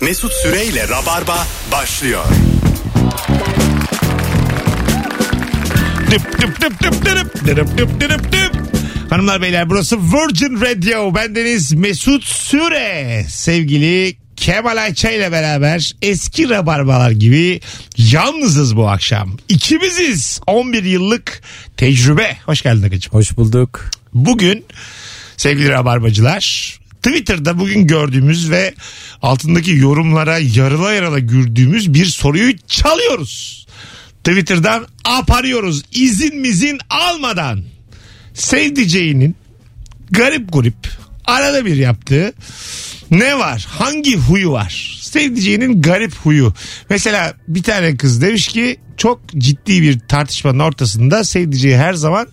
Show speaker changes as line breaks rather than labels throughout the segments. Mesut Süreyle Rabarba başlıyor.
Dıp dıp dıp dıp dırıp dırıp dıp dırıp dıp. Hanımlar beyler burası Virgin Radio. Bendeniz Mesut Süre. Sevgili Kemal Ayça ile beraber eski rabarbalar gibi yalnızız bu akşam. İkimiziz. 11 yıllık tecrübe. Hoş geldin Akıncım.
Hoş bulduk.
Bugün sevgili rabarbacılar Twitter'da bugün gördüğümüz ve altındaki yorumlara yarıla yarıla gürdüğümüz bir soruyu çalıyoruz. Twitter'dan aparıyoruz izin mizin almadan. Sevdiceğinin garip grup arada bir yaptığı ne var? Hangi huyu var? Sevdiceğinin garip huyu. Mesela bir tane kız demiş ki çok ciddi bir tartışmanın ortasında sevdiceği her zaman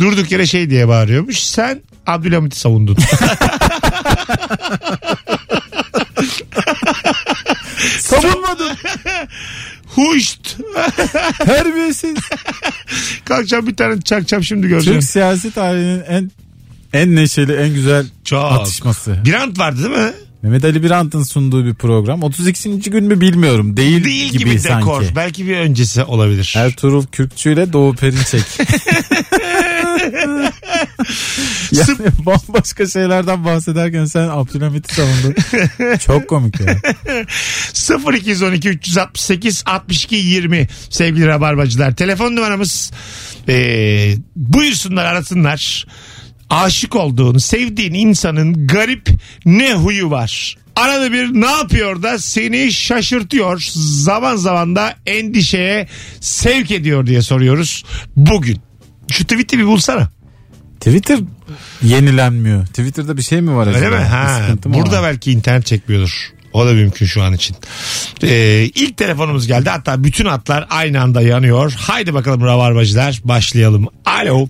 durduk yere şey diye bağırıyormuş. Sen Abdülhamit'i savundun.
Savunmadın.
Huşt.
Terbiyesiz.
Kalkacağım bir tane çakacağım şimdi göreceğim.
Türk siyasi tarihinin en en neşeli, en güzel
Çok.
atışması.
Birant vardı değil mi?
Mehmet Ali Birant'ın sunduğu bir program. 32. gün mü bilmiyorum. Değil,
Değil gibi,
gibi, sanki.
dekor. Belki bir öncesi olabilir.
Ertuğrul Kürkçü ile Doğu Perinçek. yani bambaşka şeylerden bahsederken sen Abdülhamit'i savundun. Çok komik ya.
0212 368 62 20 sevgili rabarbacılar. Telefon numaramız ee, buyursunlar arasınlar. Aşık olduğun, sevdiğin insanın garip ne huyu var? Arada bir ne yapıyor da seni şaşırtıyor. Zaman zaman da endişeye sevk ediyor diye soruyoruz bugün. Şu tweet'i bir bulsana.
Twitter yenilenmiyor. Twitter'da bir şey mi var acaba?
Öyle mi? Ha,
Bir sıkıntı mı
burada
var?
belki internet çekmiyordur. O da mümkün şu an için. Ee, ilk telefonumuz geldi. Hatta bütün hatlar aynı anda yanıyor. Haydi bakalım Rabarbacılar başlayalım. Alo.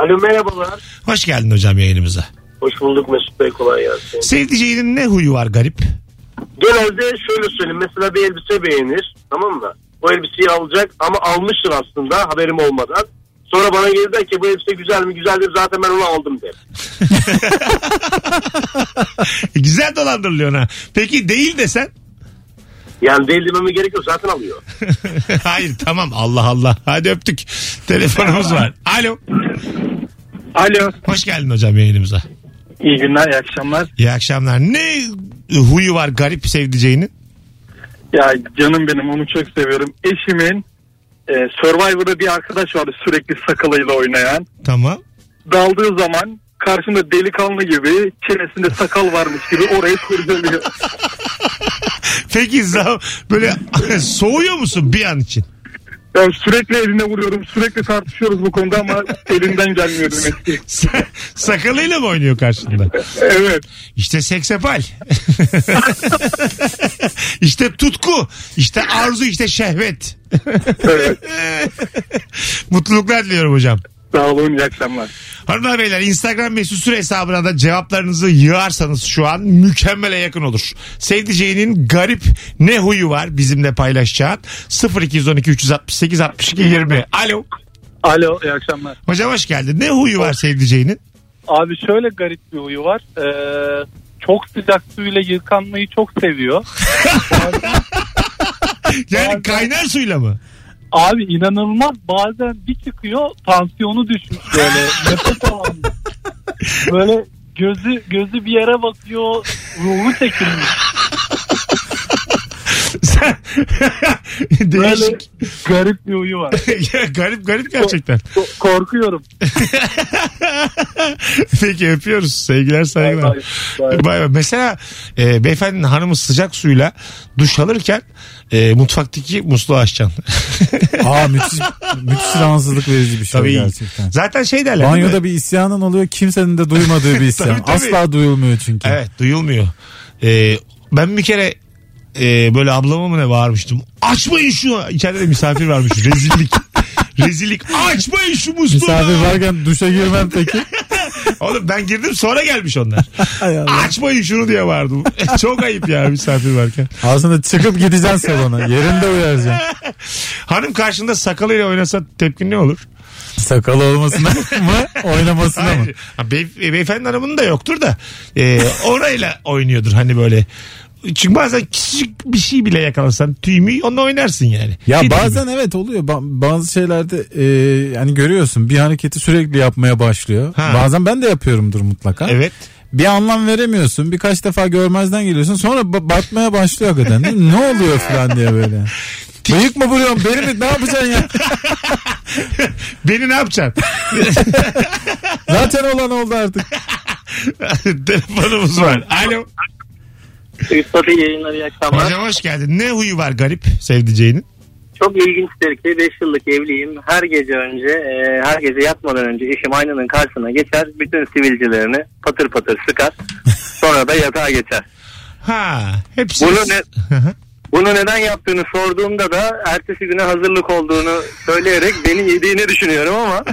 Alo merhabalar.
Hoş geldin hocam yayınımıza.
Hoş bulduk Mesut Bey kolay gelsin.
Sevdiceğinin ne huyu var garip?
Genelde şöyle söyleyeyim. Mesela bir elbise beğenir tamam mı? O elbiseyi alacak ama almıştır aslında haberim olmadan. Sonra bana gelir der ki bu elbise güzel mi? Güzel değil zaten ben onu aldım der.
E, Güzel dolandırılıyor ha. Peki değil desen?
Yani değil dememe gerek yok zaten alıyor.
Hayır tamam Allah Allah. Hadi öptük. Telefonumuz var. Alo.
Alo.
Hoş geldin hocam yayınımıza.
İyi günler, iyi akşamlar.
İyi akşamlar. Ne huyu var garip sevdiceğinin?
Ya canım benim onu çok seviyorum. Eşimin e, Survivor'da bir arkadaş vardı sürekli sakalıyla oynayan.
Tamam.
Daldığı zaman karşında delikanlı gibi çenesinde sakal varmış gibi orayı kurcalıyor.
Peki zam- böyle soğuyor musun bir an için?
Ya sürekli eline vuruyorum. Sürekli tartışıyoruz bu konuda ama elinden gelmiyor demek ki.
Sa- Sakalıyla mı oynuyor karşında?
Evet.
İşte seksapal. işte tutku. işte arzu. işte şehvet.
evet.
Mutluluklar diliyorum hocam.
Sağ olun, iyi akşamlar.
Hanımlar beyler Instagram mesut süre hesabına da cevaplarınızı yığarsanız şu an mükemmele yakın olur. Sevdiceğinin garip ne huyu var bizimle paylaşacağın 0212 368 62 20. Alo.
Alo, iyi akşamlar.
Hocam hoş geldin. Ne huyu var sevdiceğinin?
Abi şöyle garip bir huyu var. Ee, çok sıcak suyla yıkanmayı çok seviyor.
Yani kaynar suyla mı?
Abi inanılmaz bazen bir çıkıyor tansiyonu düşmüş böyle nefes alamıyor. Böyle gözü gözü bir yere bakıyor ruhu çekilmiş.
Sen-
Böyle
Değişik.
garip bir huyu var.
Ya garip garip gerçekten.
Ko- korkuyorum.
Peki öpüyoruz. Sevgiler saygılar.
Bay bay, bay.
Bay bay. Mesela e, beyefendinin hanımı sıcak suyla duş alırken e, mutfaktaki musluğu açacaksın.
Aa müthiş, müthiş rahatsızlık verici bir şey
Tabii.
gerçekten.
Zaten şey derler. değil mi?
Banyoda bir isyanın oluyor kimsenin de duymadığı bir isyan.
Tabii, tabii.
Asla duyulmuyor çünkü.
Evet duyulmuyor. E, ben bir kere e, böyle ablama mı ne bağırmıştım. Açmayın şunu. İçeride de misafir varmış. Rezillik. Rezillik. Açmayın şu musluğu.
Misafir varken duşa girmem peki.
Oğlum ben girdim sonra gelmiş onlar. Açmayın şunu diye vardım. Eh, Çok ayıp ya misafir varken.
Aslında çıkıp gideceksin salona. Yerinde uyaracaksın.
Hanım karşında sakalıyla oynasa tepkin ne olur?
Sakalı olmasına mı oynamasına mı?
Hayır. Ha, Bey, beyefendi hanımının da yoktur da. E, orayla oynuyordur e, hani böyle. Çünkü bazen küçücük bir şey bile yakalasan tüyümü onunla oynarsın yani.
Ya
Kedi
bazen evet oluyor. Ba- bazı şeylerde e, yani görüyorsun bir hareketi sürekli yapmaya başlıyor.
Ha.
Bazen ben de yapıyorumdur mutlaka.
gibi. Evet.
Bir anlam veremiyorsun. Birkaç defa görmezden geliyorsun. Sonra ba- batmaya başlıyor hakikaten. Değil mi? ne oluyor falan diye böyle. Bıyık mı vuruyorsun? Beni mi? Ne yapacaksın ya?
Beni ne yapacaksın?
Zaten olan oldu artık.
Telefonumuz var. Alo.
Üstad iyi yayınlar iyi akşamlar.
Hocam hoş geldin. Ne huyu var garip sevdiceğinin?
Çok ilginçtir ki 5 yıllık evliyim. Her gece önce, e, her gece yatmadan önce eşim aynanın karşısına geçer. Bütün sivilcelerini patır patır sıkar. Sonra da yatağa geçer.
Ha, hepsi.
Bunu ne- Bunu neden yaptığını sorduğumda da ertesi güne hazırlık olduğunu söyleyerek beni yediğini düşünüyorum ama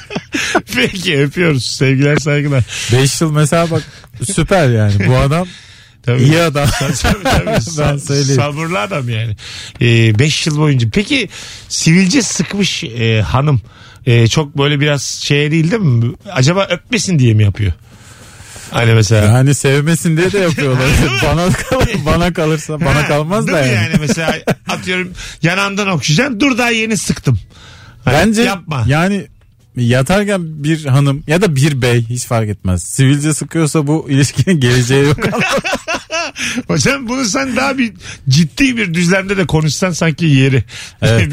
Peki öpüyoruz. Sevgiler saygılar.
5 yıl mesela bak süper yani. Bu adam
Tabii.
iyi adam.
Tabii, tabii.
Ben söyleyeyim.
Sabırlı adam yani. 5 yıl boyunca. Peki sivilce sıkmış e, hanım. E, çok böyle biraz şey değil değil mi? Acaba öpmesin diye mi yapıyor? Hani mesela.
Yani sevmesin diye de yapıyorlar. bana kal- bana kalırsa bana
Ha,
kalmaz
değil
da
mi
yani.
mesela atıyorum yanağımdan okşayacaksın. Dur daha yeni sıktım. Hani
Bence
yapma.
yani yatarken bir hanım ya da bir bey hiç fark etmez. Sivilce sıkıyorsa bu ilişkinin geleceği yok.
Hocam bunu sen daha bir ciddi bir düzlemde de konuşsan sanki yeri.
Evet.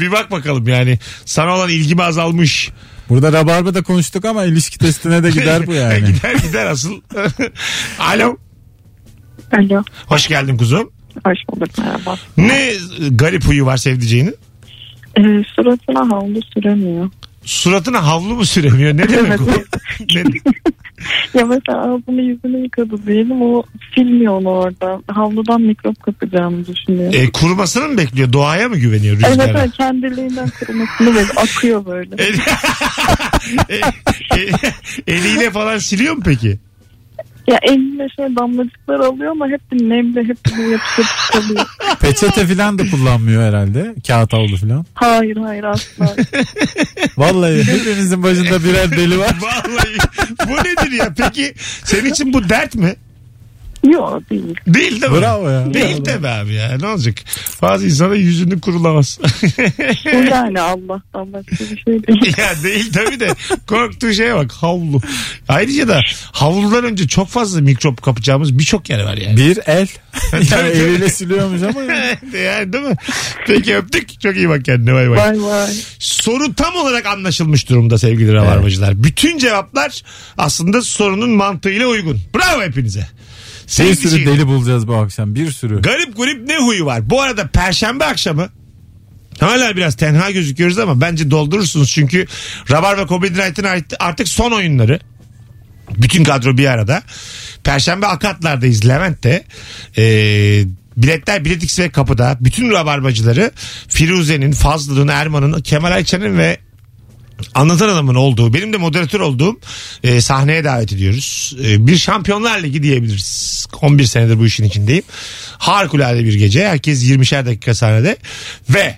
bir bak bakalım yani sana olan ilgimi azalmış.
Burada Rabarba'da konuştuk ama ilişki testine de gider bu yani.
gider gider asıl. Alo.
Alo.
Hoş geldin kuzum.
Hoş bulduk. Merhaba.
Ne e, garip huyu var sevdiceğinin?
Ee, suratına havlu süremiyor.
Suratına havlu mu süremiyor? Ne demek o? Ne-
Ya mesela "Aa, bunu yüzüne yıkadı diyelim o silmiyor onu orada. Havludan mikrop kapacağını düşünüyor.
e, kurumasını mı bekliyor? Doğaya mı güveniyor
Evet
rüzgara? E,
evet kendiliğinden kurumasını böyle akıyor böyle.
El- E- e- eliyle falan siliyor mu peki?
Ya eline şey damlacıklar alıyor ama hep bir nemle hep bir yapış yapış kalıyor.
Peçete falan da kullanmıyor herhalde. Kağıt havlu falan.
Hayır hayır asla.
Vallahi hepimizin başında birer deli var.
Vallahi bu nedir ya? Peki senin için bu dert mi?
Yok değil.
Değil de mi?
Bravo ya.
Değil de be abi ya. Ne olacak? Bazı insana yüzünü kurulamaz.
Bu yani Allah'tan başka bir şey değil.
ya değil tabii de korktuğu şeye bak havlu. Ayrıca da havludan önce çok fazla mikrop kapacağımız birçok yer var yani.
Bir el.
tabii.
yani eliyle siliyormuş ama.
yani değil mi? Peki öptük. Çok iyi bak kendine. Bay bay.
Vay vay.
Soru tam olarak anlaşılmış durumda sevgili rabarbacılar. Bütün cevaplar aslında sorunun mantığıyla uygun. Bravo hepinize.
Bir
Sevgili
sürü deli bulacağız bu akşam. Bir sürü.
Garip grup ne huyu var? Bu arada perşembe akşamı Hala biraz tenha gözüküyoruz ama bence doldurursunuz çünkü Rabar ve Comedy Night'ın art- artık son oyunları. Bütün kadro bir arada. Perşembe Akatlar'dayız Levent'te. Ee, biletler Biletix ve kapıda. Bütün rabarbacıları Firuze'nin, Fazlı'nın, Erman'ın, Kemal Ayça'nın ve anlatan adamın olduğu benim de moderatör olduğum e, sahneye davet ediyoruz. E, bir şampiyonlar ligi diyebiliriz. 11 senedir bu işin içindeyim. Harikulade bir gece. Herkes 20'şer dakika sahnede ve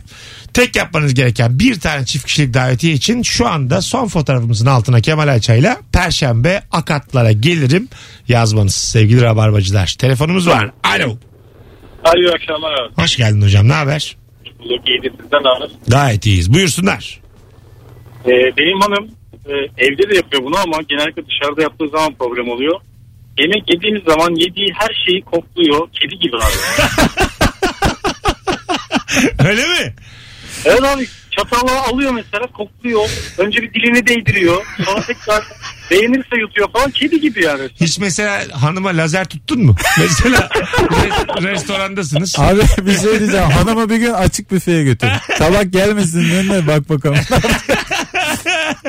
tek yapmanız gereken bir tane çift kişilik davetiye için şu anda son fotoğrafımızın altına Kemal Ayça'yla Perşembe Akatlara gelirim yazmanız sevgili rabarbacılar. Telefonumuz var. Alo.
Hayır akşamlar abi.
Hoş geldin hocam. Ne haber?
Blok sizden alır.
Gayet iyiyiz. Buyursunlar.
Ee, benim hanım e, evde de yapıyor bunu ama genellikle dışarıda yaptığı zaman problem oluyor. Yemek yediğimiz zaman yediği her şeyi kokluyor. Kedi gibi abi.
Öyle mi?
evet abi çatalla alıyor mesela kokluyor. Önce bir dilini değdiriyor. Sonra tekrar beğenirse yutuyor falan. Kedi gibi yani.
Hiç mesela hanıma lazer tuttun mu? Mesela re- restorandasınız.
Abi bir şey diyeceğim. Hanımı bir gün açık büfeye götür. Tabak gelmesin önüne bak bakalım.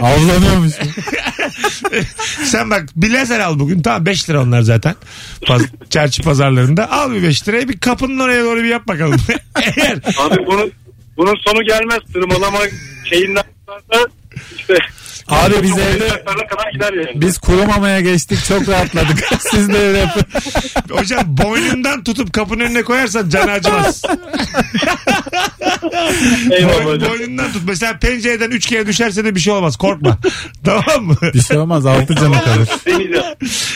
Avlanıyormuş.
Sen bak bir lazer al bugün. Tamam 5 lira onlar zaten. Paz, çarşı pazarlarında. Al bir 5 lirayı bir kapının oraya doğru bir yap bakalım. Eğer
Abi bunun, bunun sonu gelmez. Tırmalama şeyinden sonra işte
Abi biz evde
Uzaklara kadar gider yani.
biz kurumamaya geçtik çok rahatladık. Siz de öyle yapın.
hocam boynundan tutup kapının önüne koyarsan can acımaz.
Eyvallah
Boyn-
hocam.
Boynundan tut. Mesela pencereden üç kere düşerse de bir şey olmaz. Korkma. tamam mı?
Bir şey olmaz altı canı kalır.
Deneyeceğim.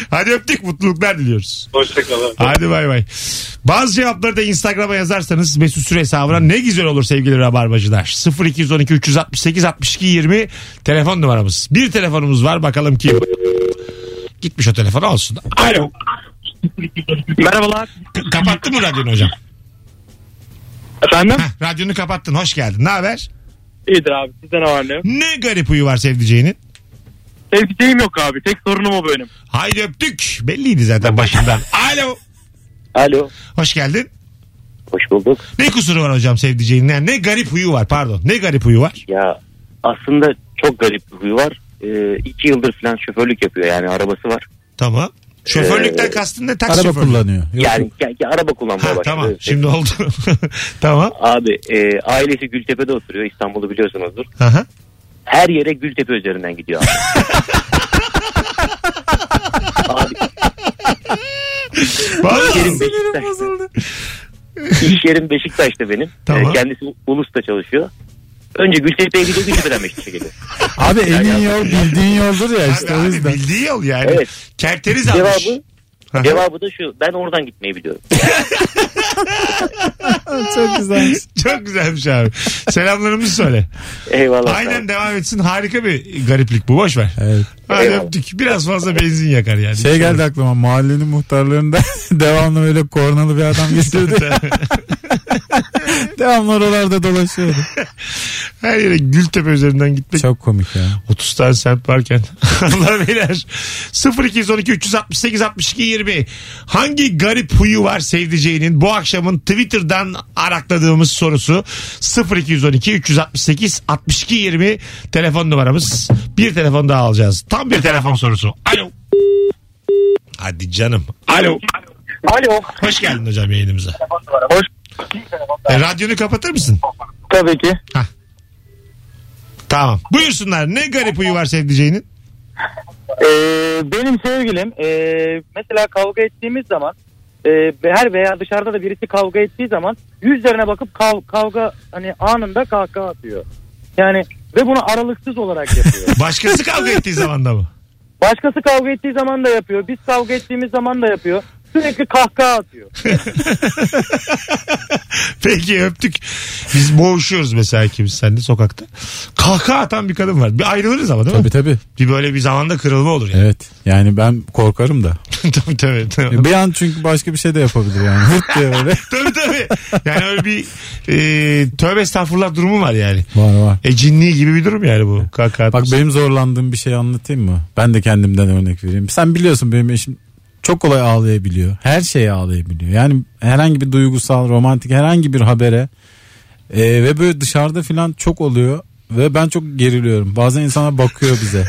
Hadi öptük. Mutluluklar diliyoruz.
Hoşçakalın.
Hadi bay bay. Bazı cevapları da Instagram'a yazarsanız Mesut Süre hesabına ne güzel olur sevgili Rabarbacılar. 0212 368 62 20 telefon numaramız. Bir telefonumuz var bakalım kim? Gitmiş o telefon olsun. Alo.
Merhabalar.
K- kapattın mı radyonu hocam?
Efendim?
Heh, radyonu kapattın. Hoş geldin. Ne haber?
İyidir abi. Sizde ne var ne yok?
Ne garip huyu var sevdiceğinin?
Sevdiceğim yok abi. Tek sorunum o benim.
Haydi öptük. Belliydi zaten başından. Alo.
Alo.
Hoş geldin.
Hoş bulduk.
Ne kusuru var hocam sevdiceğinin? Yani ne garip huyu var pardon. Ne garip huyu var?
Ya aslında çok garip bir huyu var. Ee, iki yıldır falan şoförlük yapıyor yani arabası var.
Tamam. Şoförlükten
Ee,
kastın ne? Taksi
Araba
şoförlüğü.
kullanıyor. Yok,
Yani ya- ya araba kullanmaya
Ha,
başladı.
tamam
Evet.
şimdi oldu. tamam.
Abi e, ailesi Gültepe'de oturuyor İstanbul'u biliyorsunuzdur.
Aha.
Her yere Gültepe üzerinden gidiyor abi. abi
Vallahi.
Beşiktaş'ta. İş yerim Beşiktaş'ta benim.
Tamam.
Ee, kendisi Ulus'ta çalışıyor. Önce Gültepe'ye gidiyor Gültepe'den Beşiktaş'a geliyor.
Abi en iyi yol bildiğin yoldur ya
Abi,
işte o
abi,
yüzden.
bildiği yol yani.
Evet.
Kerteriz almış.
Cevabı
Aha.
Cevabı da şu ben oradan gitmeyi biliyorum.
Çok güzelmiş.
Çok güzelmiş abi. Selamlarımızı söyle.
Eyvallah.
Aynen devam etsin. Harika bir gariplik bu. Boş ver.
Evet.
Hadi
Eyvallah.
öptük. Biraz fazla benzin yakar yani.
Şey geldi aklıma mahallenin muhtarlarında devamlı böyle kornalı bir adam geçiyordu. devamlı oralarda dolaşıyordu.
Her yere Gültepe üzerinden gitmek.
Çok komik ya.
30 tane semt varken. Allah beyler. 0212 368 62 20. Hangi garip huyu var sevdiceğinin? Bu akşamın Twitter'dan arakladığımız sorusu 0212 368 62 20 telefon numaramız. Bir telefon daha alacağız. Tam bir telefon sorusu. Alo. Hadi canım. Alo.
Alo.
Hoş geldin hocam yayınımıza.
Hoş.
E, radyonu kapatır mısın?
Tabii ki.
Tamam. Buyursunlar. Ne garip huyu var sevdiceğinin?
Ee, benim sevgilim ee, mesela kavga ettiğimiz zaman ee, ve her veya dışarıda da birisi kavga ettiği zaman yüzlerine bakıp kav- kavga hani anında kahkaha atıyor. Yani ve bunu aralıksız olarak yapıyor.
Başkası kavga ettiği zaman da mı?
Başkası kavga ettiği zaman da yapıyor. Biz kavga ettiğimiz zaman da yapıyor. Sürekli kahkaha atıyor.
Peki öptük. Biz boğuşuyoruz mesela ikimiz sende sokakta. Kahkaha atan bir kadın var. Bir ayrılırız ama değil mi?
Tabii tabii.
Bir böyle bir zamanda kırılma olur yani.
Evet. Yani ben korkarım da.
tabii tabii. Tabii
Bir an çünkü başka bir şey de yapabilir yani. Hırt diye böyle.
tabii. tabii. Yani öyle bir e, tövbe estağfurullah durumu var yani.
Var var.
E cinliği gibi bir durum yani bu. Kahkaha
E Bak
atması.
benim zorlandığım bir şey anlatayım mı? Ben de kendimden örnek vereyim. Sen biliyorsun benim eşim çok kolay ağlayabiliyor. Her şeye ağlayabiliyor. Yani herhangi bir duygusal, romantik herhangi bir habere Ee, ve böyle dışarıda falan çok oluyor ve ben çok geriliyorum. Bazen insana bakıyor bize.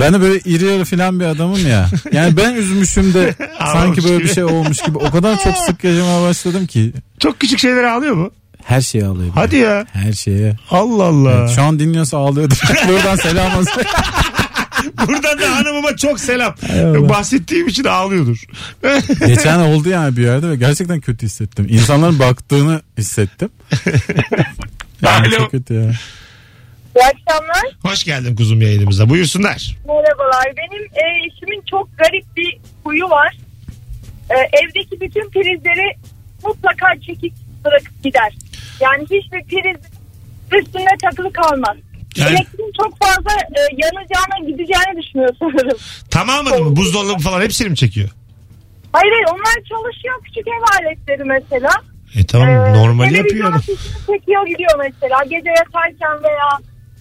Ben de böyle iri yarı filan bir adamım ya. Yani ben üzmüşüm de sanki böyle bir şey olmuş gibi. O kadar çok sık yaşamaya başladım ki
Çok küçük şeylere ağlıyor mu?
her şeye ağlayabiliyorum.
Hadi ya.
Her şeye.
Allah Allah.
Evet, şu an dinliyorsa ağlıyordur. Buradan selam olsun.
Buradan da hanımıma çok selam.
Allah.
Bahsettiğim için ağlıyordur.
Geçen oldu yani bir yerde ve gerçekten kötü hissettim. İnsanların baktığını hissettim. Yani
Alo.
çok kötü ya.
İyi akşamlar.
Hoş geldin kuzum yayınımıza. Buyursunlar.
Merhabalar. Benim e, eşimin çok garip bir huyu var. E, evdeki bütün prizleri mutlaka çekip bırakıp gider. Yani hiçbir priz üstüne takılı kalmaz.
Yani-
Elektriğin çok fazla e, yanacağına gideceğini düşünüyor sanırım.
Tamamını mı? Buzdolabı falan hepsini mi çekiyor?
Hayır hayır onlar çalışıyor küçük ev aletleri mesela.
E tamam
Ee,
normali
televizyon
yapıyor. adam.
afişini çekiyor gidiyor mesela. Gece yatarken veya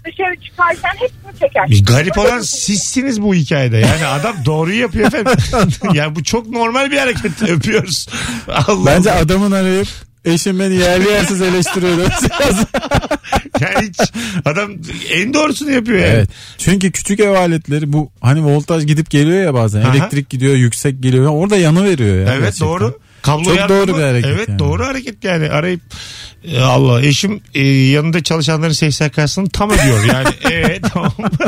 dışarı çıkarken hepsini çeker.
Bir garip olan sizsiniz bu hikayede. Yani adam doğruyu yapıyor efendim. ya bu çok normal bir hareket yapıyoruz. Allah
Bence adamın arayıp eşim beni yerli yersiz eleştiriyor. demesi lazım.
Yani hiç adam en doğrusunu yapıyor yani.
evet. Çünkü küçük ev aletleri bu hani voltaj gidip geliyor ya bazen.
Aha.
Elektrik gidiyor yüksek geliyor. Orada yanı veriyor ya.
Evet
gerçekten.
doğru. Kablo
Çok
yardım
doğru
var.
bir hareket
Evet
yani.
doğru hareket yani arayıp e, Allah eşim e, e, yanında çalışanların SSK'sını tam ödüyor yani. evet tamam.
Mesut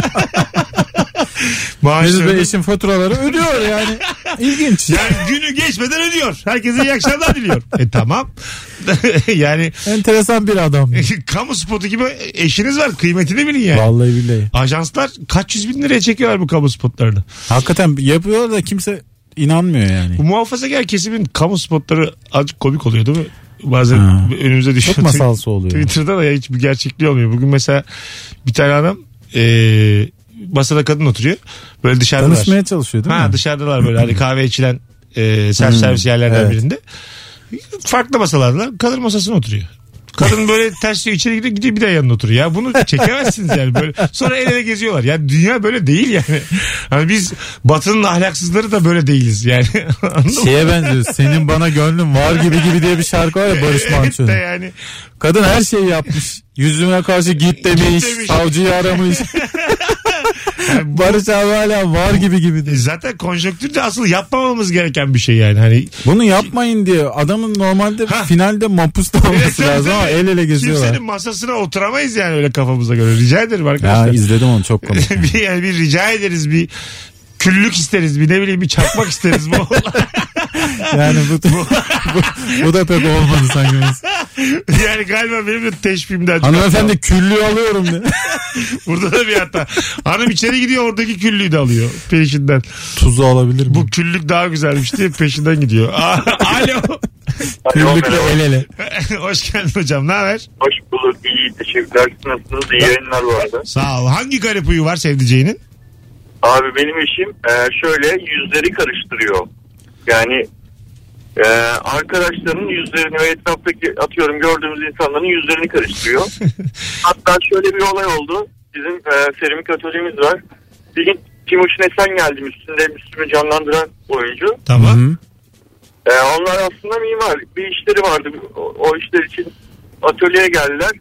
Bey
Maaşlarını...
eşim faturaları ödüyor yani. İlginç.
Yani günü geçmeden ödüyor. Herkese iyi akşamlar diliyor. E tamam. yani
Enteresan bir adam.
kamu spotu gibi eşiniz var. Kıymetini bilin yani.
Vallahi billahi.
Ajanslar kaç yüz bin liraya çekiyorlar bu kamu spotlarını.
Hakikaten yapıyor da kimse inanmıyor yani.
Bu muhafazakar kesimin kamu spotları azıcık komik oluyor değil mi? Bazen
Ha.
önümüze düşüyor.
Çok masalsı oluyor.
Twitter'da da ya hiçbir gerçekliği olmuyor. Bugün mesela bir tane adam eee masada kadın oturuyor. Böyle dışarıdalar.
Tanışmaya çalışıyor değil
ha,
mi? Hmm,
dışarıdalar böyle hani kahve içilen eee self servis yerlerden
evet.
birinde. Farklı masalarda kadın masasına oturuyor. Kadın böyle ters diyor içeri gidiyor gidiyor bir daha yanına oturuyor. Ya bunu çekemezsiniz yani böyle. Sonra el ele geziyorlar. Ya dünya böyle değil yani. Hani biz batının ahlaksızları da böyle değiliz yani. Anladın mı?
Şeye benziyor. Senin bana gönlün var gibi gibi diye bir şarkı var ya Barış
Evet de
Manço'nun.
yani.
Kadın her şeyi yapmış. Yüzüme karşı git demiş.
demiş.
savcıyı aramış. Barış abi hala var gibi gibi diyor.
E, Zaten konjonktür de asıl yapmamamız gereken bir şey yani. Hani
Bunu yapmayın diye adamın normalde
Ha.
finalde mapusta
Evet,
olması
evet,
lazım ama
evet.
el ele geziyorlar.
Kimsenin masasına oturamayız yani öyle kafamıza göre. Rica ederim
Ya
arkadaşlar.
izledim onu çok komik.
bir, yani bir rica ederiz bir küllük isteriz bir ne bileyim bir çakmak isteriz bu
Yani bu, bu, bu- bu da pek olmadı sanki.
yani galiba benim de teşbihimden
Hanımefendi küllüğü alıyorum diye.
burada da bir hata hanım içeri gidiyor oradaki küllüğü de alıyor peşinden
Tuzu alabilir miyim?
bu küllük daha güzelmiş diye peşinden gidiyor alo
Küllükle el ele.
hoş geldin hocam ne haber
Hoş bulduk. İyi teşekkürler. Nasılsınız? İyi yayınlar bu arada.
sağ ol hangi garip huyu var sevdiceğinin
Abi benim eşim e, şöyle yüzleri karıştırıyor. Yani e, arkadaşlarının yüzlerini ve etraftaki atıyorum gördüğümüz insanların yüzlerini karıştırıyor. Hatta şöyle bir olay oldu. Bizim e, seramik atölyemiz var. Bir gün Timuçin Esen geldi üstünde Müslüm'ü canlandıran oyuncu.
tamam
Hı.
E, onlar aslında mimar. Bir işleri vardı. O, o işler için atölyeye geldiler.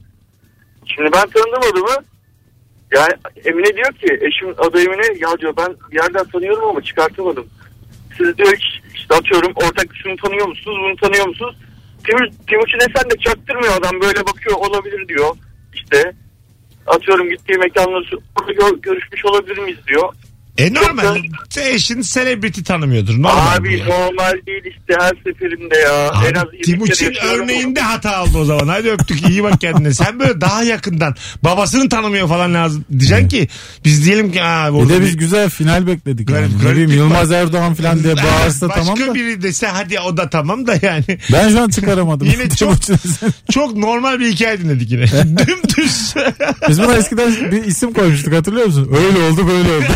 Şimdi ben tanıdım adamı. Yani Emine diyor ki eşim adı Emine ya diyor ben yerden tanıyorum ama çıkartamadım. Siz diyor hiç- işte atıyorum ortak şunu tanıyor musunuz bunu tanıyor musunuz? Timur, Timuçin Esen de çaktırmıyor adam böyle bakıyor olabilir diyor. İşte atıyorum gittiği mekanla şu- orada gör- görüşmüş olabilir miyiz diyor.
e normal eşin celebrity tanımıyordur normal bu
Abi
yani.
normal değil işte her seferinde ya.
Abi,
en az şey yirmi kere
Timuçin
yaşıyorum
örneğinde hata oldu o zaman. Hadi öptük iyi bak kendine. Sen böyle daha yakından babasını tanımıyor falan lazım. Diyeceksin ki biz diyelim ki ha
Bir
burada
de
bir-
biz güzel final bekledik.
Garip-
yani. Ne
garip
bileyim,
bir-
Yılmaz Erdoğan falan diye bağırsa
Başka
tamam da.
biri dese hadi o da tamam da yani.
Ben şu an çıkaramadım.
Yine çok-
Timuçin.
Çok normal bir hikaye dinledik yine. Dümdüz.
Biz buna eskiden bir isim koymuştuk hatırlıyor musun? Öyle oldu böyle oldu.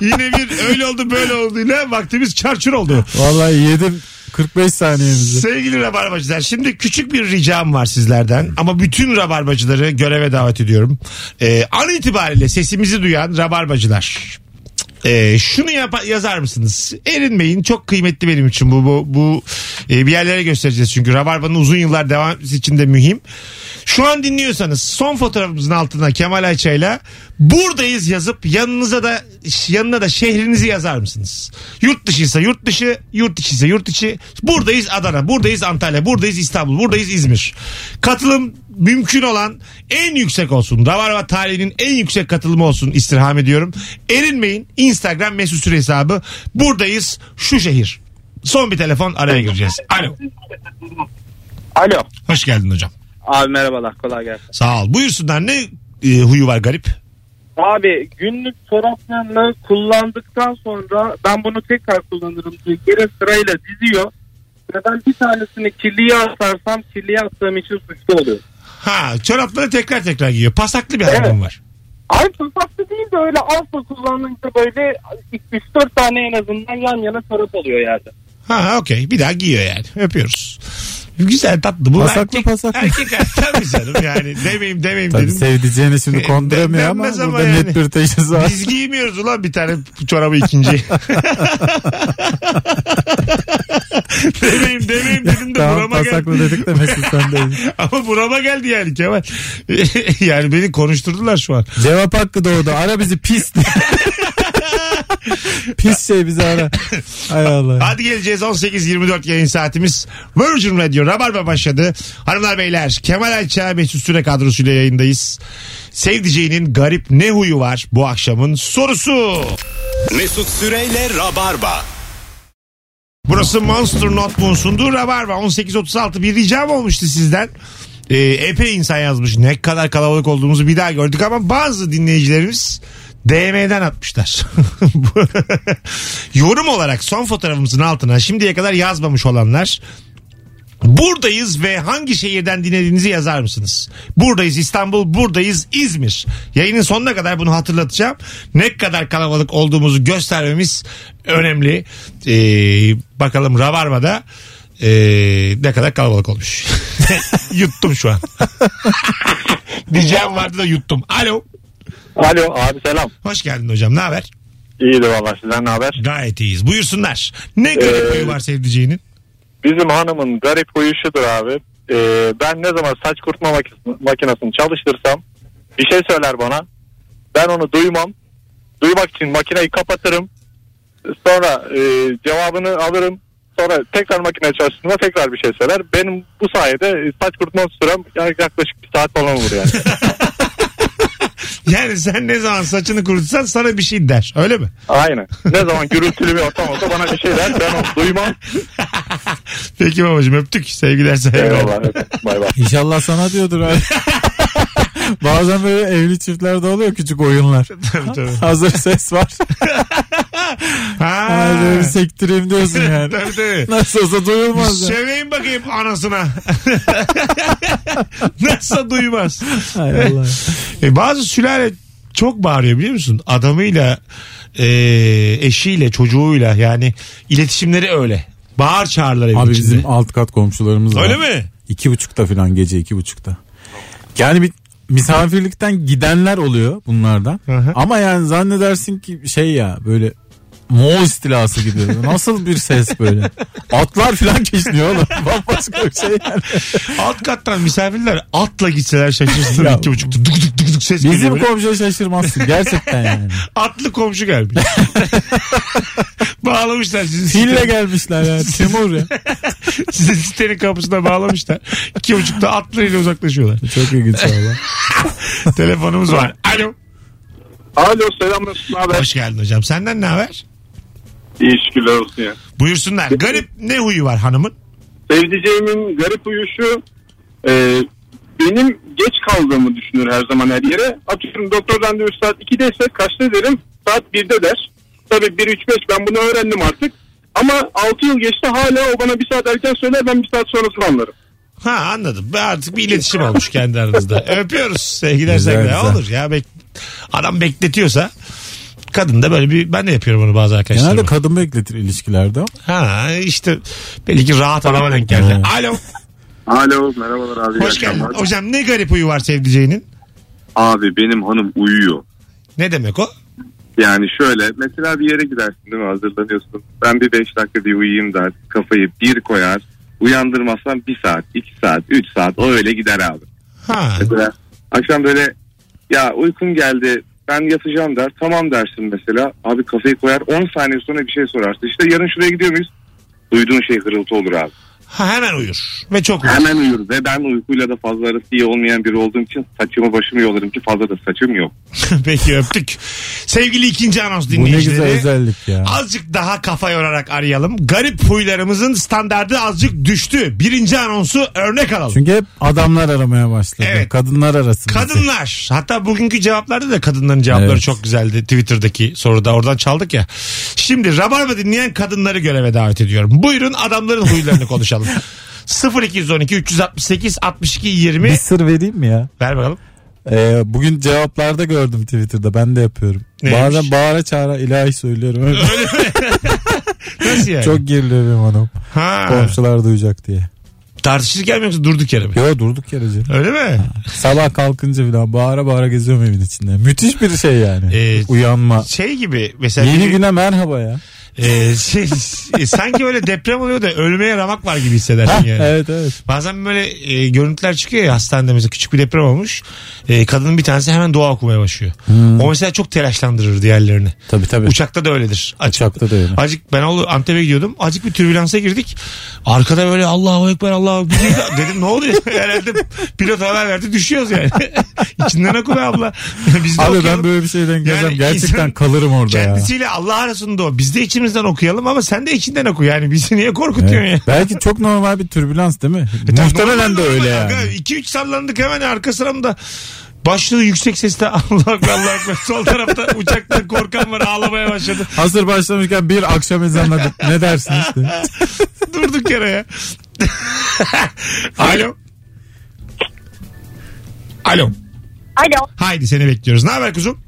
yine bir öyle oldu böyle oldu ile vaktimiz çarçur oldu.
Vallahi yedim 45 saniyemizi.
Sevgili rabarbacılar şimdi küçük bir ricam var sizlerden ama bütün rabarbacıları göreve davet ediyorum. Ee, an itibariyle sesimizi duyan rabarbacılar Ee, şunu yapa- yazar mısınız? Erinmeyin çok kıymetli benim için bu bu, bu e, bir yerlere göstereceğiz çünkü Rabarba'nın uzun yıllar devam etmesi için de mühim. Şu an dinliyorsanız son fotoğrafımızın altına Kemal Ayça'yla buradayız yazıp yanınıza da yanına da şehrinizi yazar mısınız? Yurt dışıysa yurt dışı, yurt içiyse yurt içi. Buradayız Adana, buradayız Antalya, buradayız İstanbul, buradayız İzmir. Katılım mümkün olan en yüksek olsun. Rabarba tarihinin en yüksek katılımı olsun istirham ediyorum. Erinmeyin. Instagram mesut süre hesabı. Buradayız şu şehir. Son bir telefon araya gireceğiz. Alo.
Alo.
Hoş geldin hocam.
Abi merhabalar kolay gelsin.
Sağ ol. Buyursunlar ne e, huyu var garip?
Abi günlük çoraplarını kullandıktan sonra ben bunu tekrar kullanırım diye geri sırayla diziyor. Ve ben bir tanesini kirliye atarsam kirliye attığım için suçlu oluyor.
Ha çorapları tekrar tekrar giyiyor. Pasaklı bir adamım var.
Ay fırsatlı değil de öyle alfa kullanınca böyle 3-4 tane en azından yan yana çorap oluyor yani.
Ha ha, okey bir daha giyiyor yani. Öpüyoruz. Güzel tatlı bu.
Pasaklı,
erkek,
pasaklı.
Erkek tabii canım yani demeyeyim demeyeyim
Tabii
dedim.
sevdiceğini şimdi konduramıyor ama
Denmez
burada
ama yani.
net bir teşhis var.
Biz giymiyoruz ulan bir tane çorabı ikinci. demeyim demeyim dedim de
tamam
burama
pasaklı
geldi.
dedik de Mesut sen değil.
Ama burama geldi yani Kemal. yani beni konuşturdular şu an.
Cevap hakkı doğdu. Ara bizi pis. Pis şey bizi ara. Hay Allah.
Hadi geleceğiz 18.24 yayın saatimiz. Virgin Radio Rabarba başladı. Hanımlar beyler Kemal Ayça Mesut Süre kadrosuyla yayındayız. Sevdiceğinin garip ne huyu var bu akşamın sorusu.
Mesut Süreyle Rabarba.
Burası Monster Not Moon'sundu Rabarba 18.36 bir ricam olmuştu sizden. Ee, epey insan yazmış ne kadar kalabalık olduğumuzu bir daha gördük ama bazı dinleyicilerimiz DM'den atmışlar. Yorum olarak son fotoğrafımızın altına şimdiye kadar yazmamış olanlar Buradayız ve hangi şehirden dinlediğinizi yazar mısınız? Buradayız İstanbul, buradayız İzmir. Yayının sonuna kadar bunu hatırlatacağım. Ne kadar kalabalık olduğumuzu göstermemiz önemli. Ee, bakalım Rabarba'da ee, ne kadar kalabalık olmuş. yuttum şu an. Diyeceğim vardı da yuttum. Alo.
Alo abi selam.
Hoş geldin hocam. Ne haber?
İyidir valla sizden ne haber?
Gayet iyiyiz. Buyursunlar. Ne garip
Ee,
huyu var sevdiceğinin?
Bizim hanımın garip huyu şudur abi. Ee, ben ne zaman saç kurutma maki- makinesini çalıştırsam bir şey söyler bana. Ben onu duymam. Duymak için makineyi kapatırım. Sonra e, cevabını alırım. Sonra tekrar makine çalıştığında tekrar bir şey söyler. Benim bu sayede e, saç kurutma sürem ya- yaklaşık bir saat falan olur yani.
Yani sen ne zaman saçını kurutsan sana bir şey der. Öyle mi?
Aynen. Ne zaman gürültülü bir ortam olsa bana bir şey der. Ben onu duymam.
Peki babacığım öptük. Sevgiler saygılar.
Eyvallah. Bay bay.
İnşallah sana diyordur abi. Bazen böyle evli çiftlerde oluyor küçük oyunlar.
Tabii, tabii.
Hazır ses var.
Ha.
Hadi bir sektireyim diyorsun yani.
tabii tabii.
Nasıl olsa duyulmaz ya.
Söveyim bakayım anasına. Nasıl duymaz.
Hay Allah.
E, bazı sülale çok bağırıyor biliyor musun? Adamıyla, e, eşiyle, çocuğuyla yani iletişimleri öyle. Bağır çağırlar evin
Abi
içinde.
bizim alt kat komşularımız var.
Şey- Öyle mi?
İki buçukta falan gece iki buçukta. Yani bir misafirlikten gidenler oluyor bunlardan.
Hı hı.
Ama yani zannedersin ki şey ya böyle Moğol istilası gibi. Nasıl bir ses böyle? Atlar falan geçiniyor oğlum. Bambaşka bir şey yani.
Alt kattan misafirler atla gitseler şaşırsın
Ya.
iki buçukta. Duk duk duk duk ses geliyor.
Bizim
böyle.
komşuya şaşırmazsın gerçekten yani.
Atlı komşu gelmiş. Bağlamışlar sizi.
Fille gelmişler ya. Timur ya.
Size sitenin kapısına bağlamışlar. İki buçukta atlıyla uzaklaşıyorlar.
Çok ilginç valla.
Telefonumuz var. Alo.
Alo selam nasılsın haber?
Hoş geldin hocam. Senden ne haber?
İyi şükürler olsun ya.
Buyursunlar. Garip ne huyu var hanımın?
Sevdiceğimin garip uyuşu e, benim geç kaldığımı düşünür her zaman her yere. Atıyorum doktor randevu saat 2'deyse kaçta derim saat 1'de der. Tabii 1 3 5 ben bunu öğrendim artık. Ama 6 yıl geçti hala o bana bir saat erken söyler ben bir saat sonrasını anlarım.
Ha anladım. Ben Artık bir iletişim olmuş kendi aranızda. Öpüyoruz sevgiler
Güzel,
sevgiler.
güzel.
Olur ya. Bek adam bekletiyorsa kadın da böyle bir ben de yapıyorum bunu bazı
Genelde
arkadaşlarıma.
kadın bekletir ilişkilerde.
Ha işte belki rahat adama denk geldi.
Ha.
Alo.
Alo merhabalar abi. iyi
Hoş geldin.
akşamlar.
Hocam ne garip huyu var sevdiceğinin?
Abi benim hanım uyuyor.
Ne demek o?
Yani şöyle mesela bir yere gidersin değil mi hazırlanıyorsun. Ben bir 5 dakika bir uyuyayım der. Kafayı bir koyar. Uyandırmazsan bir saat, iki saat, üç saat o öyle gider abi.
Ha.
Mesela akşam böyle ya uykum geldi ben yatacağım der. Tamam dersin mesela. Abi kafayı koyar 10 saniye sonra bir şey sorarsın. İşte yarın şuraya gidiyor muyuz? Duyduğun şey hırıltı olur abi.
ha hemen uyur. Ve çok uyur.
Hemen uyur ve ben uykuyla da fazla arası iyi olmayan biri olduğum için saçımı başımı yolarım ki fazla da saçım yok.
Peki öptük. Sevgili ikinci anons
Bu ne güzel
dinleyicileri.
özellik ya.
Azıcık daha kafa yorarak arayalım. Garip huylarımızın standardı azıcık düştü. Birinci anonsu örnek alalım.
Çünkü hep adamlar aramaya başladı.
Evet.
Kadınlar arasında.
Kadınlar. Hatta bugünkü cevaplarda da kadınların cevapları
Evet.
çok güzeldi. Twitter'daki soruda oradan çaldık ya. Şimdi Rabarba dinleyen kadınları göreve davet ediyorum. Buyurun adamların huylarını konuşalım. 0212 368 62
Bir
20
sır vereyim mi ya?
ver bakalım.
Ee, bugün cevaplarda gördüm Twitter'da. Ben de yapıyorum.
Neymiş?
Bazen bağıra çağıra ilahi söylüyorum. Öyle
Nasıl yani?
Çok geriliyor benim hanım.
ha.
Komşular duyacak diye.
Tartışırken mi yoksa durduk yere mi?
Yo durduk yere canım.
Öyle mi?
Sabah kalkınca falan bağıra bağıra geziyorum evin içinde. Müthiş bir şey yani.
Ee,
Uyanma.
Şey gibi mesela
Yeni
biri-
güne merhaba ya.
Ee, şey, e, sanki böyle deprem oluyor da ölmeye ramak var gibi hissedersin yani.
evet evet.
Bazen böyle e, görüntüler çıkıyor ya hastanede mesela küçük bir deprem olmuş. E, kadının bir tanesi hemen dua okumaya başlıyor.
Hmm.
O mesela çok telaşlandırır diğerlerini.
Tabii tabii.
Uçakta da öyledir. Acık-
Uçakta da öyle.
Acık ben oğlu Antep'e gidiyordum. Acık bir türbülansa girdik. Arkada böyle Allahu Ekber Allahu Ekber. Bir de- Dedim ne oluyor? Herhalde pilot haber verdi düşüyoruz yani. İçinden oku be abla. Biz de
Abi
okuyalım.
ben böyle bir şeyden gelsem
Yani
gerçekten
insan
kalırım orada ya.
Kendisiyle Allah arasında o. Biz de içimizden okuyalım ama sen de içinden oku. Yani bizi niye
Evet.
korkutuyorsun ya? E,
Belki çok normal bir türbülans değil mi? Muhtemelen de öyle yani.
2-3 sallandık hemen arka sıramda. Başlığı yüksek sesle Allah akbar Allah akbar. Sol tarafta uçakta korkan var ağlamaya başladı.
Hazır başlamışken bir akşam ezanına ne dersiniz? de?
Durduk yere ya. Alo. Alo.
Alo.
Haydi seni bekliyoruz. Ne haber kuzum?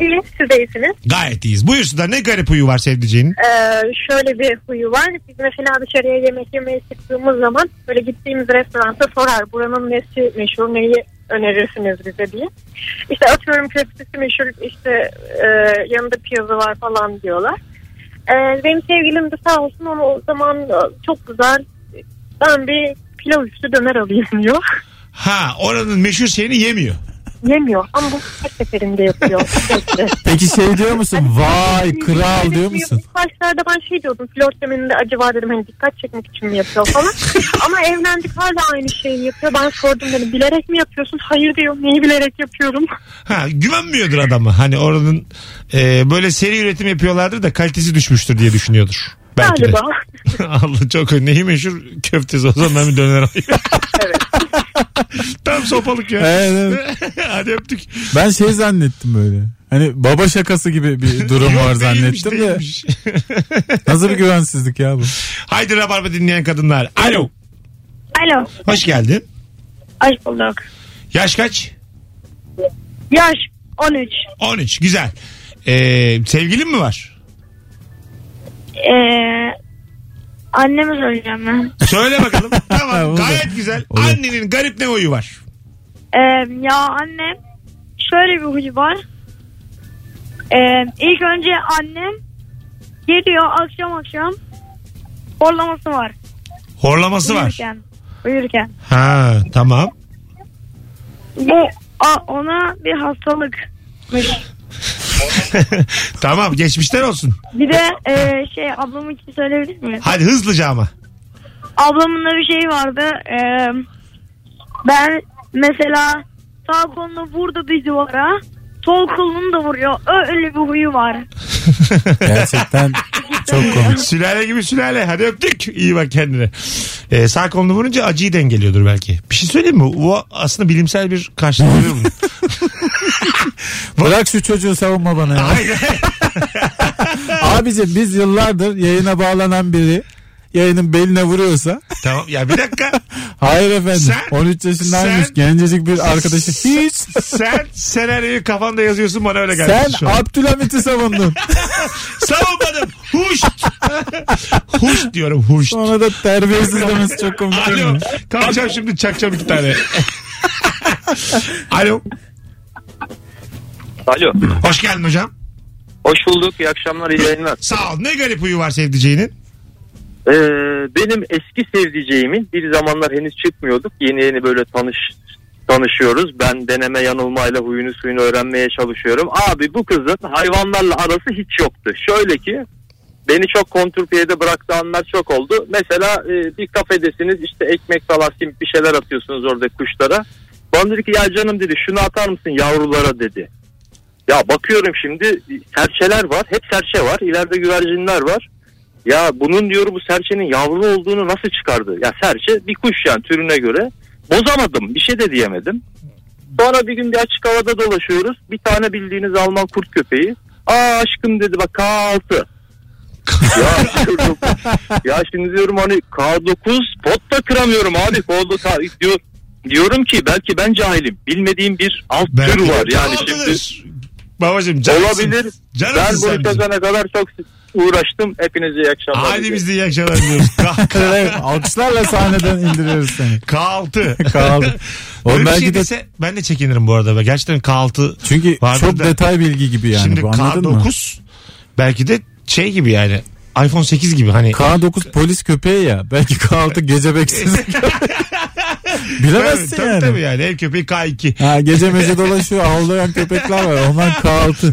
İyi siz de iyisiniz.
Gayet iyiyiz. Buyursunlar ne garip huyu var sevdiceğinin?
Ee, şöyle bir huyu var. Biz mesela dışarıya yemek yemeye çıktığımız zaman böyle gittiğimiz restoranda sorar buranın nesi meşhur neyi önerirsiniz bize diye. İşte atıyorum köftesi meşhur işte e, yanında piyazı var falan diyorlar. Ee, benim sevgilim de sağ olsun ama o zaman e, çok güzel ben bir pilav üstü döner alayım diyor.
Ha oranın meşhur şeyini yemiyor.
Yemiyor ama bu her seferinde yapıyor. Sürekli.
Peki şey diyor musun? Vay kral diyor musun?
İlk başlarda ben şey diyordum flört döneminde acaba dedim hani dikkat çekmek için mi yapıyor falan. Ama evlendik hala aynı şeyi yapıyor. Ben sordum dedim bilerek mi yapıyorsun? Hayır diyor neyi bilerek yapıyorum?
Ha güvenmiyordur adama. Hani oranın e, böyle seri üretim yapıyorlardır da kalitesi düşmüştür diye düşünüyordur. Belki de.
Galiba.
Allah çok neyi meşhur köftesi o zaman ben bir döner alayım. Tam sopalık ya.
Evet,
Hadi öptük.
Ben şey zannettim böyle. Hani baba şakası gibi bir durum
Yok,
var
değilmiş,
zannettim de.
değilmiş.
Nasıl bir güvensizlik ya bu?
Haydi Rabarba dinleyen kadınlar. Alo.
Alo.
Hoş geldin.
Hoş bulduk.
Yaş kaç?
Yaş 13.
13. Güzel. Ee, sevgilin mi var?
annemi soracağım Ee, ben.
Söyle bakalım. tamam.
Olur.
Gayet güzel.
Olur.
Annenin garip ne oyu var?
Ee, ya annem şöyle bir huyu var. Ee, ilk önce annem geliyor akşam akşam horlaması var.
Horlaması var.
Uyurken.
Ha tamam.
Bu a- ona bir hastalık.
tamam geçmişler olsun.
Bir de e, şey ablam için söyleyebilir miyim?
Hadi hızlıca ama.
Ablamın da bir şeyi vardı. E, ben mesela sağ kolunu vurdu bir duvara. Sol kolunu da vuruyor. Öyle bir huyu var.
Gerçekten çok komik.
Sülale gibi sülale. Hadi öptük. İyi bak kendine. Ee, sağ kolunu vurunca acıyı dengeliyordur belki. Bir şey söyleyeyim mi? Bu aslında bilimsel bir karşılığı biliyor musun?
Bırak şu çocuğu savunma bana ya.
Hayır.
Abicim biz yıllardır yayına bağlanan biri yayının beline vuruyorsa
tamam ya bir dakika.
hayır efendim
Sen-
13 yaşındaymış
sen-
gencecik bir arkadaşı hiç
Sen senaryoyu kafanda yazıyorsun bana öyle geldi
sen
şu an.
Abdülhamit'i savundun.
Savunmadım. Huşt. huşt diyorum huşt.
Sonra da terbiyesiz demesi çok komik değil
Alo.
mi?
Kalkacağım şimdi çakacağım iki tane. Alo.
Alo.
Hoş geldin hocam.
Hoş bulduk. İyi akşamlar. iyi yayınlar.
Sağ ol. Ne garip huyu var sevdiceğinin?
Ee, benim eski sevdiceğimin bir zamanlar henüz çıkmıyorduk. Yeni yeni böyle tanış tanışıyoruz. Ben deneme yanılmayla huyunu suyunu öğrenmeye çalışıyorum. Abi bu kızın hayvanlarla arası hiç yoktu. Şöyle ki beni çok kontrpiyede bıraktı anlar çok oldu. Mesela e, bir kafedesiniz işte ekmek salasim bir şeyler atıyorsunuz orada kuşlara. Bana dedi ki ya canım dedi şunu atar mısın yavrulara dedi. Ya bakıyorum şimdi serçeler var. Hep serçe var. İleride güvercinler var. Ya bunun diyor bu serçenin yavru olduğunu nasıl çıkardı? Ya serçe bir kuş yani türüne göre. Bozamadım bir şey de diyemedim. Sonra bir gün bir açık havada dolaşıyoruz. Bir tane bildiğiniz Alman kurt köpeği. Aa aşkım dedi bak K6. ya, diyorum, ya şimdi diyorum hani K9 pot da kıramıyorum abi. K9 diyor. Diyorum ki belki ben cahilim. Bilmediğim bir alt
Belki
tür var yani
olabilir.
şimdi.
Babacım canımsın.
Olabilir.
Canımsın
Ben
sen
bunu
bizim.
çözene kadar çok uğraştım. Hepinize iyi akşamlar.
Hadi
diliyorum.
biz de iyi akşamlar diliyoruz. K- K-
Evet, Alkışlarla sahneden indiriyoruz seni.
K6.
Kaldı.
Böyle
Oğlum
bir
belki
şey
de
dese ben de çekinirim bu arada. Gerçekten K6
çünkü
Vardır
çok
da.
detay bilgi gibi yani
Şimdi
bu anladın mı?
K9 belki de şey gibi yani iPhone 8 gibi hani.
K9 polis köpeği ya. Belki K6 gece beksiz. Bilemezsin
tabii,
yani.
Tabii yani ev köpeği K2.
Ha, gece mece dolaşıyor havlayan köpekler var. Onlar K6.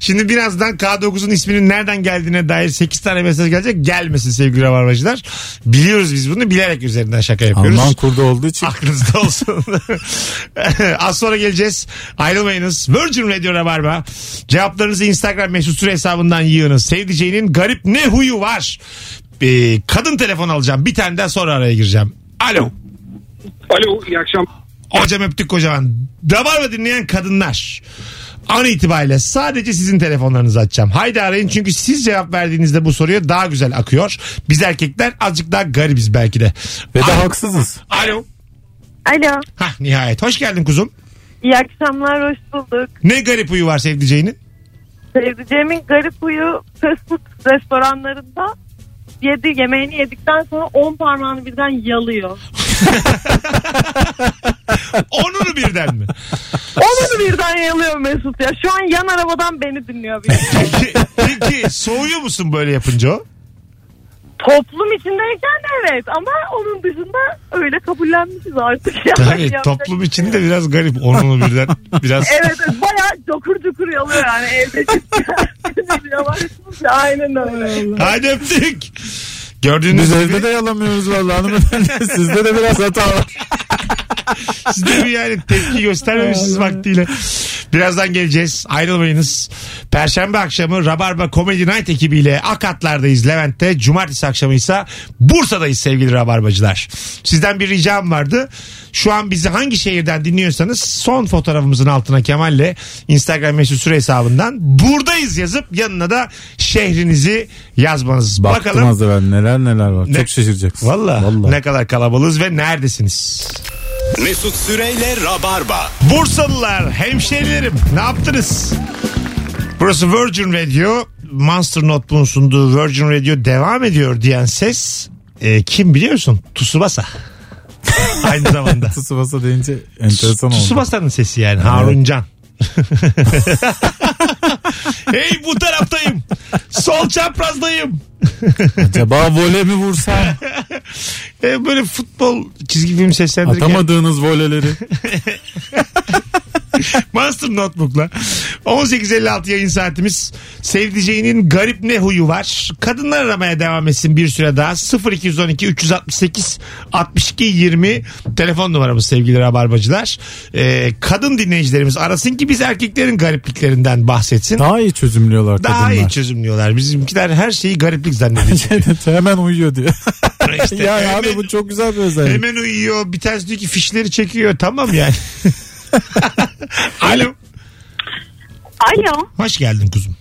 Şimdi birazdan K9'un isminin nereden geldiğine dair 8 tane mesaj gelecek. Gelmesin sevgili rabarbacılar. Biliyoruz biz bunu bilerek üzerinden şaka yapıyoruz.
Alman kurdu olduğu için.
Aklınızda olsun. Az sonra geleceğiz. Ayrılmayınız. Virgin Radio Rabarba. Cevaplarınızı Instagram mesut süre hesabından yığınız. Sevdiceğinin garip ne huyu var? Ee, kadın telefon alacağım. Bir tane daha sonra araya gireceğim. Alo.
Alo iyi akşam.
Hocam öptük kocaman. Rabarba dinleyen kadınlar. An itibariyle sadece sizin telefonlarınızı açacağım. Haydi arayın çünkü siz cevap verdiğinizde bu soruya daha güzel akıyor. Biz erkekler azıcık daha garibiz belki de.
Ve de
Alo.
haksızız.
Alo.
Alo.
Hah nihayet. Hoş geldin kuzum.
İyi akşamlar. Hoş bulduk.
Ne garip huyu var sevdiceğinin?
Sevdiceğimin garip huyu fast food restoranlarında yedi yemeğini yedikten sonra 10 parmağını birden yalıyor.
Onunu birden mi?
Onu da birden yalıyor Mesut ya. Şu an yan arabadan beni dinliyor. Bir.
Peki, peki soğuyor musun böyle yapınca o?
Toplum içindeyken evet ama onun dışında öyle kabullenmişiz artık. ya.
Tabii
Yapacak- şey
toplum içinde biraz garip. Onunu birden biraz
Evet evet, bayağı dokur dokur yalıyor yani evdeki. ya, aynen öyle.
Hadi öptük. Gördüğünüz
Biz
gibi
evde de yalamıyoruz vallahi hanımefendi. Sizde de biraz hata var.
siz de bir yani tepki göstermemişsiniz vaktiyle. Birazdan geleceğiz. Ayrılmayınız. Perşembe akşamı Rabarba Comedy Night ekibiyle Akatlar'dayız Levent'te. Cumartesi akşamı ise Bursa'dayız sevgili Rabarbacılar. Sizden bir ricam vardı. Şu an bizi hangi şehirden dinliyorsanız son fotoğrafımızın altına Kemal'le Instagram mesut süre hesabından buradayız yazıp yanına da şehrinizi yazmanız.
Baktım
Bakalım
az evvel neler neler var.
Ne-
Çok şaşıracaksın.
Valla
Vallahi.
ne kadar kalabalığız ve neredesiniz?
Mesut Süreyle Rabarba.
Bursalılar, hemşerilerim ne yaptınız? Burası Virgin Radio. Monster Notebook'un sunduğu Virgin Radio devam ediyor diyen ses e, kim biliyor musun? Tsubasa. Aynı zamanda.
Tsubasa deyince enteresan oldu.
Tsubasa'nın sesi yani Haruncan. hey bu taraftayım. Sol çaprazdayım.
Acaba vole mi vursam?
E, böyle futbol çizgi film seslendirirken.
Atamadığınız voleleri.
Monster Notebook'la. 18.56 yayın saatimiz. Sevdiceğinin garip ne huyu var? Kadınlar aramaya devam etsin bir süre daha. 0212 368 62 20 telefon numaramız sevgili rabarbacılar. Ee, kadın dinleyicilerimiz arasın ki biz erkeklerin garipliklerinden bahsetsin.
Daha iyi çözümlüyorlar
Daha
kadınlar.
iyi çözümlüyorlar. Bizimkiler her şeyi gariplik zannediyor.
Hemen uyuyor diyor.
İşte
ya
hemen-
abi bu çok güzel bir özellik.
Hemen uyuyor. Bir tanesi diyor ki fişleri çekiyor. Tamam yani. Alo.
Alo.
Hoş geldin kuzum.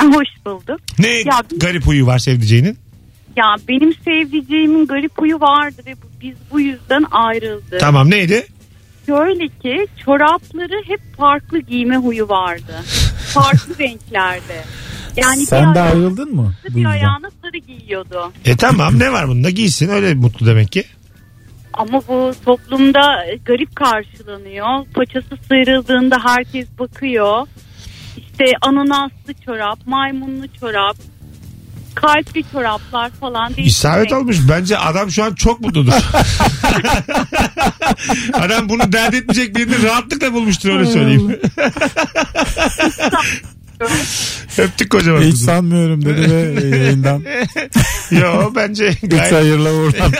Hoş bulduk.
Ne
Ya-
garip huyu var sevdiceğinin?
Ya benim sevdiceğimin garip huyu vardı ve bu- biz bu yüzden ayrıldık.
Tamam neydi?
Şöyle ki çorapları hep farklı giyme huyu vardı. Farklı renklerde. Yani
Sen
bir
de
ayağını-
ayrıldın mı?
bir
Bu yüzden.
ayağına sarı giyiyordu.
E tamam ne var bunda giysin öyle mutlu demek ki.
Ama bu toplumda garip karşılanıyor. Paçası sıyrıldığında herkes bakıyor. İşte ananaslı çorap, maymunlu çorap, kalpli çoraplar falan. değişik
İsabet
renk.
almış bence adam şu an çok mutludur. adam bunu dert etmeyecek birini rahatlıkla bulmuştur öyle söyleyeyim. Öptük kocaman
Hiç
kızım.
sanmıyorum dedi ve yayından.
Yo bence
Üç
gayet
hayırla oradan.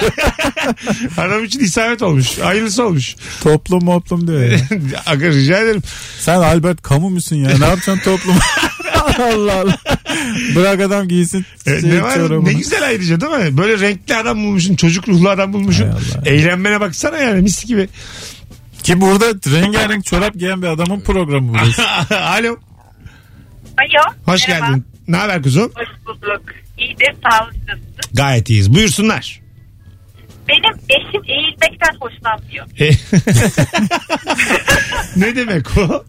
adam için isabet olmuş. Hayırlısı olmuş.
toplum moplum diyor ya.
Aga rica ederim.
Sen Albert Camus musun ya? Ne yapacaksın toplum? Allah Allah. Bırak adam giysin.
E,
şey,
ne var
çorabını.
ne güzel ayrıca değil mi? Böyle renkli adam bulmuşsun çocuk ruhlu adam bulmuşsun.
Hay Allah.
Eğlenmene baksana yani mis gibi.
Ki burada rengarenk çorap giyen bir adamın programı
Ah.
burası.
Alo
Alo.
hoş
merhaba.
geldin. Ne haber kuzum?
Hoş bulduk. İyi de sağlıklısınız.
Gayet iyiyiz. Buyursunlar.
Benim eşim eğilmekten hoşlanmıyor.
E- ne demek o?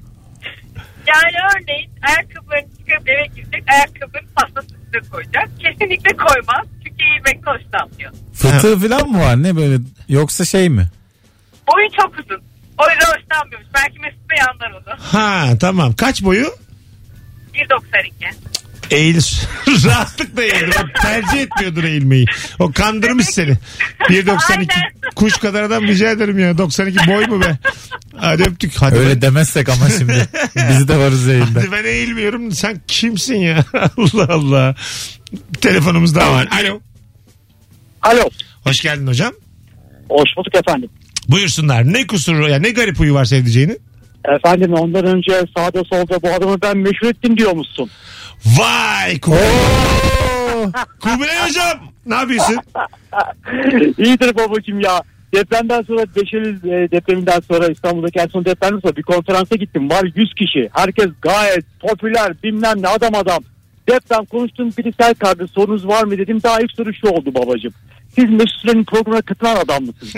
Yani örneğin ayakkabılarını çıkarıp eve girecek. Ayakkabının pastasını üstüne koyacak. Kesinlikle koymaz. Çünkü eğilmekten hoşlanmıyor.
Fıtığı falan mı var ne böyle? Yoksa şey mi?
Boyu çok uzun. O yüzden hoşlanmıyormuş. Belki Mesut Bey anlar onu.
Ha tamam. Kaç boyu?
1.92.
Eğilir. Rahatlıkla eğilir. O tercih etmiyordur eğilmeyi. O kandırmış seni. 1.92
Aynen.
kuş kadar adam rica ederim ya. 92 boy mu be? Hadi öptük. Hadi ben-
Öyle demezsek ama şimdi. Biz de varız yayında.
Hadi ben eğilmiyorum. Sen kimsin ya? Allah Allah. Telefonumuz daha var. Alo.
Alo.
Hoş geldin hocam.
Hoş bulduk efendim.
Buyursunlar. Ne kusuru ya ne garip huyu var sevdiceğinin?
Efendim ondan önce sağda solda bu adamı ben meşhur ettim diyor musun?
Vay Kubilay. Kubilay hocam. Ne yapıyorsun?
İyidir babacığım ya. Depremden sonra Beşeriz e, depreminden sonra İstanbul'daki en son depremden sonra bir konferansa gittim. Var 100 kişi. Herkes gayet popüler bilmem ne adam adam. Deprem konuştum biri sel kardı sorunuz var mı dedim. Daha ilk soru şu oldu babacığım. Siz Mesut Süren'in programına katılan adam mısınız?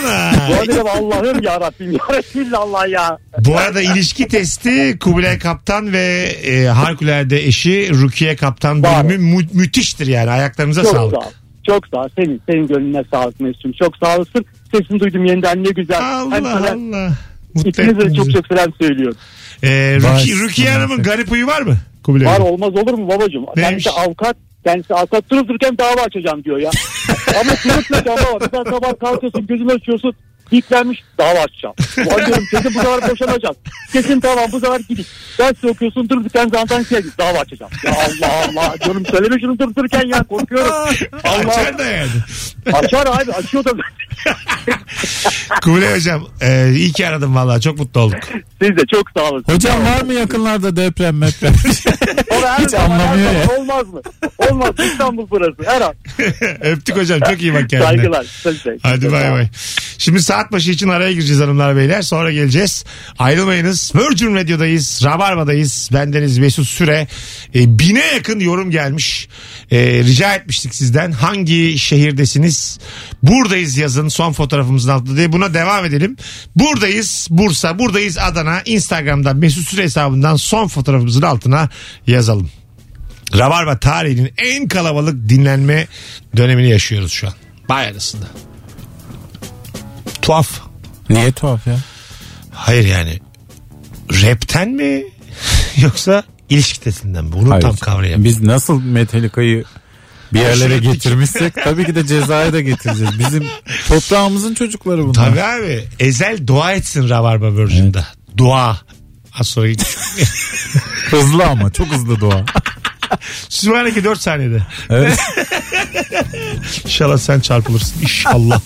Ana.
Bu arada Allah'ım yarabbim ya Resulallah ya.
Bu arada ilişki testi Kubilay Kaptan ve e, harikulade eşi Rukiye Kaptan
Var.
bölümü mü- müthiştir yani. Ayaklarınıza
Çok
sağlık.
sağ ol. Çok sağ ol. Senin, senin gönlüne sağlık Mesut'um. Çok sağ olasın. Sesini duydum yeniden ne güzel. Hem
Allah
sana-
Allah. Mutlu
İkinize
ettin
de çok
bizi.
çok selam söylüyorum.
Ee, Ruki,
Vay,
Rukiye Hanım'ın garip huyu var mı? Kubilay
Var
Hanım.
olmaz olur mu babacığım?
Neymiş?
Kendisi avukat. Kendisi avukat durup dururken dava açacağım diyor ya. Ama durup dururken dava Bir daha sabah kalkıyorsun gözünü açıyorsun. Yüklenmiş dava açacağım. Ulan diyorum kesin bu sefer boşanacağız. Kesin tamam bu sefer gidiş. Ders okuyorsun durup dururken zaten şey dava açacağım. Ya Allah Allah diyorum söyleme şunu durup dururken ya korkuyorum. Allah
Açar da yani.
açar abi açıyor da
Kubilay Hocam e, iyi ki aradım valla çok mutlu olduk.
siz de çok sağ olun.
Hocam var mı yakınlarda deprem meprem?
Ona her
Hiç
zaman, her
anlamıyor
zaman
ya.
Olmaz mı? Olmaz İstanbul burası her an.
Öptük hocam çok iyi bak kendine.
Saygılar. saygılar.
Hadi bay bay. Şimdi saat başı için araya gireceğiz hanımlar beyler. Sonra geleceğiz. Ayrılmayınız. Virgin Radio'dayız. Rabarba'dayız. Bendeniz Mesut Süre. E, bine yakın yorum gelmiş. E, rica etmiştik sizden. Hangi şehirdesiniz? Buradayız yazın son fotoğrafımızın altında diye. Buna devam edelim. Buradayız Bursa. Buradayız Adana. Instagram'dan Mesut Süre hesabından son fotoğrafımızın altına yazalım. Rabarba tarihinin en kalabalık dinlenme dönemini yaşıyoruz şu an. Bay arasında. Tuhaf.
Niye tuhaf ya?
Hayır yani. Rapten mi? Yoksa ilişki testinden mi? Bunu tam kavrayamıyorum.
Biz nasıl Metallica'yı bir yerlere
ettik.
getirmişsek tabii ki de cezaya da getireceğiz. Bizim toprağımızın çocukları bunlar.
Tabii abi. Ezel dua etsin Rabarba Virgin'de. Dua. Az sonra
Hızlı ama çok hızlı doğa.
Süper'deki 4 saniyede.
Evet.
İnşallah sen çarpılırsın. İnşallah.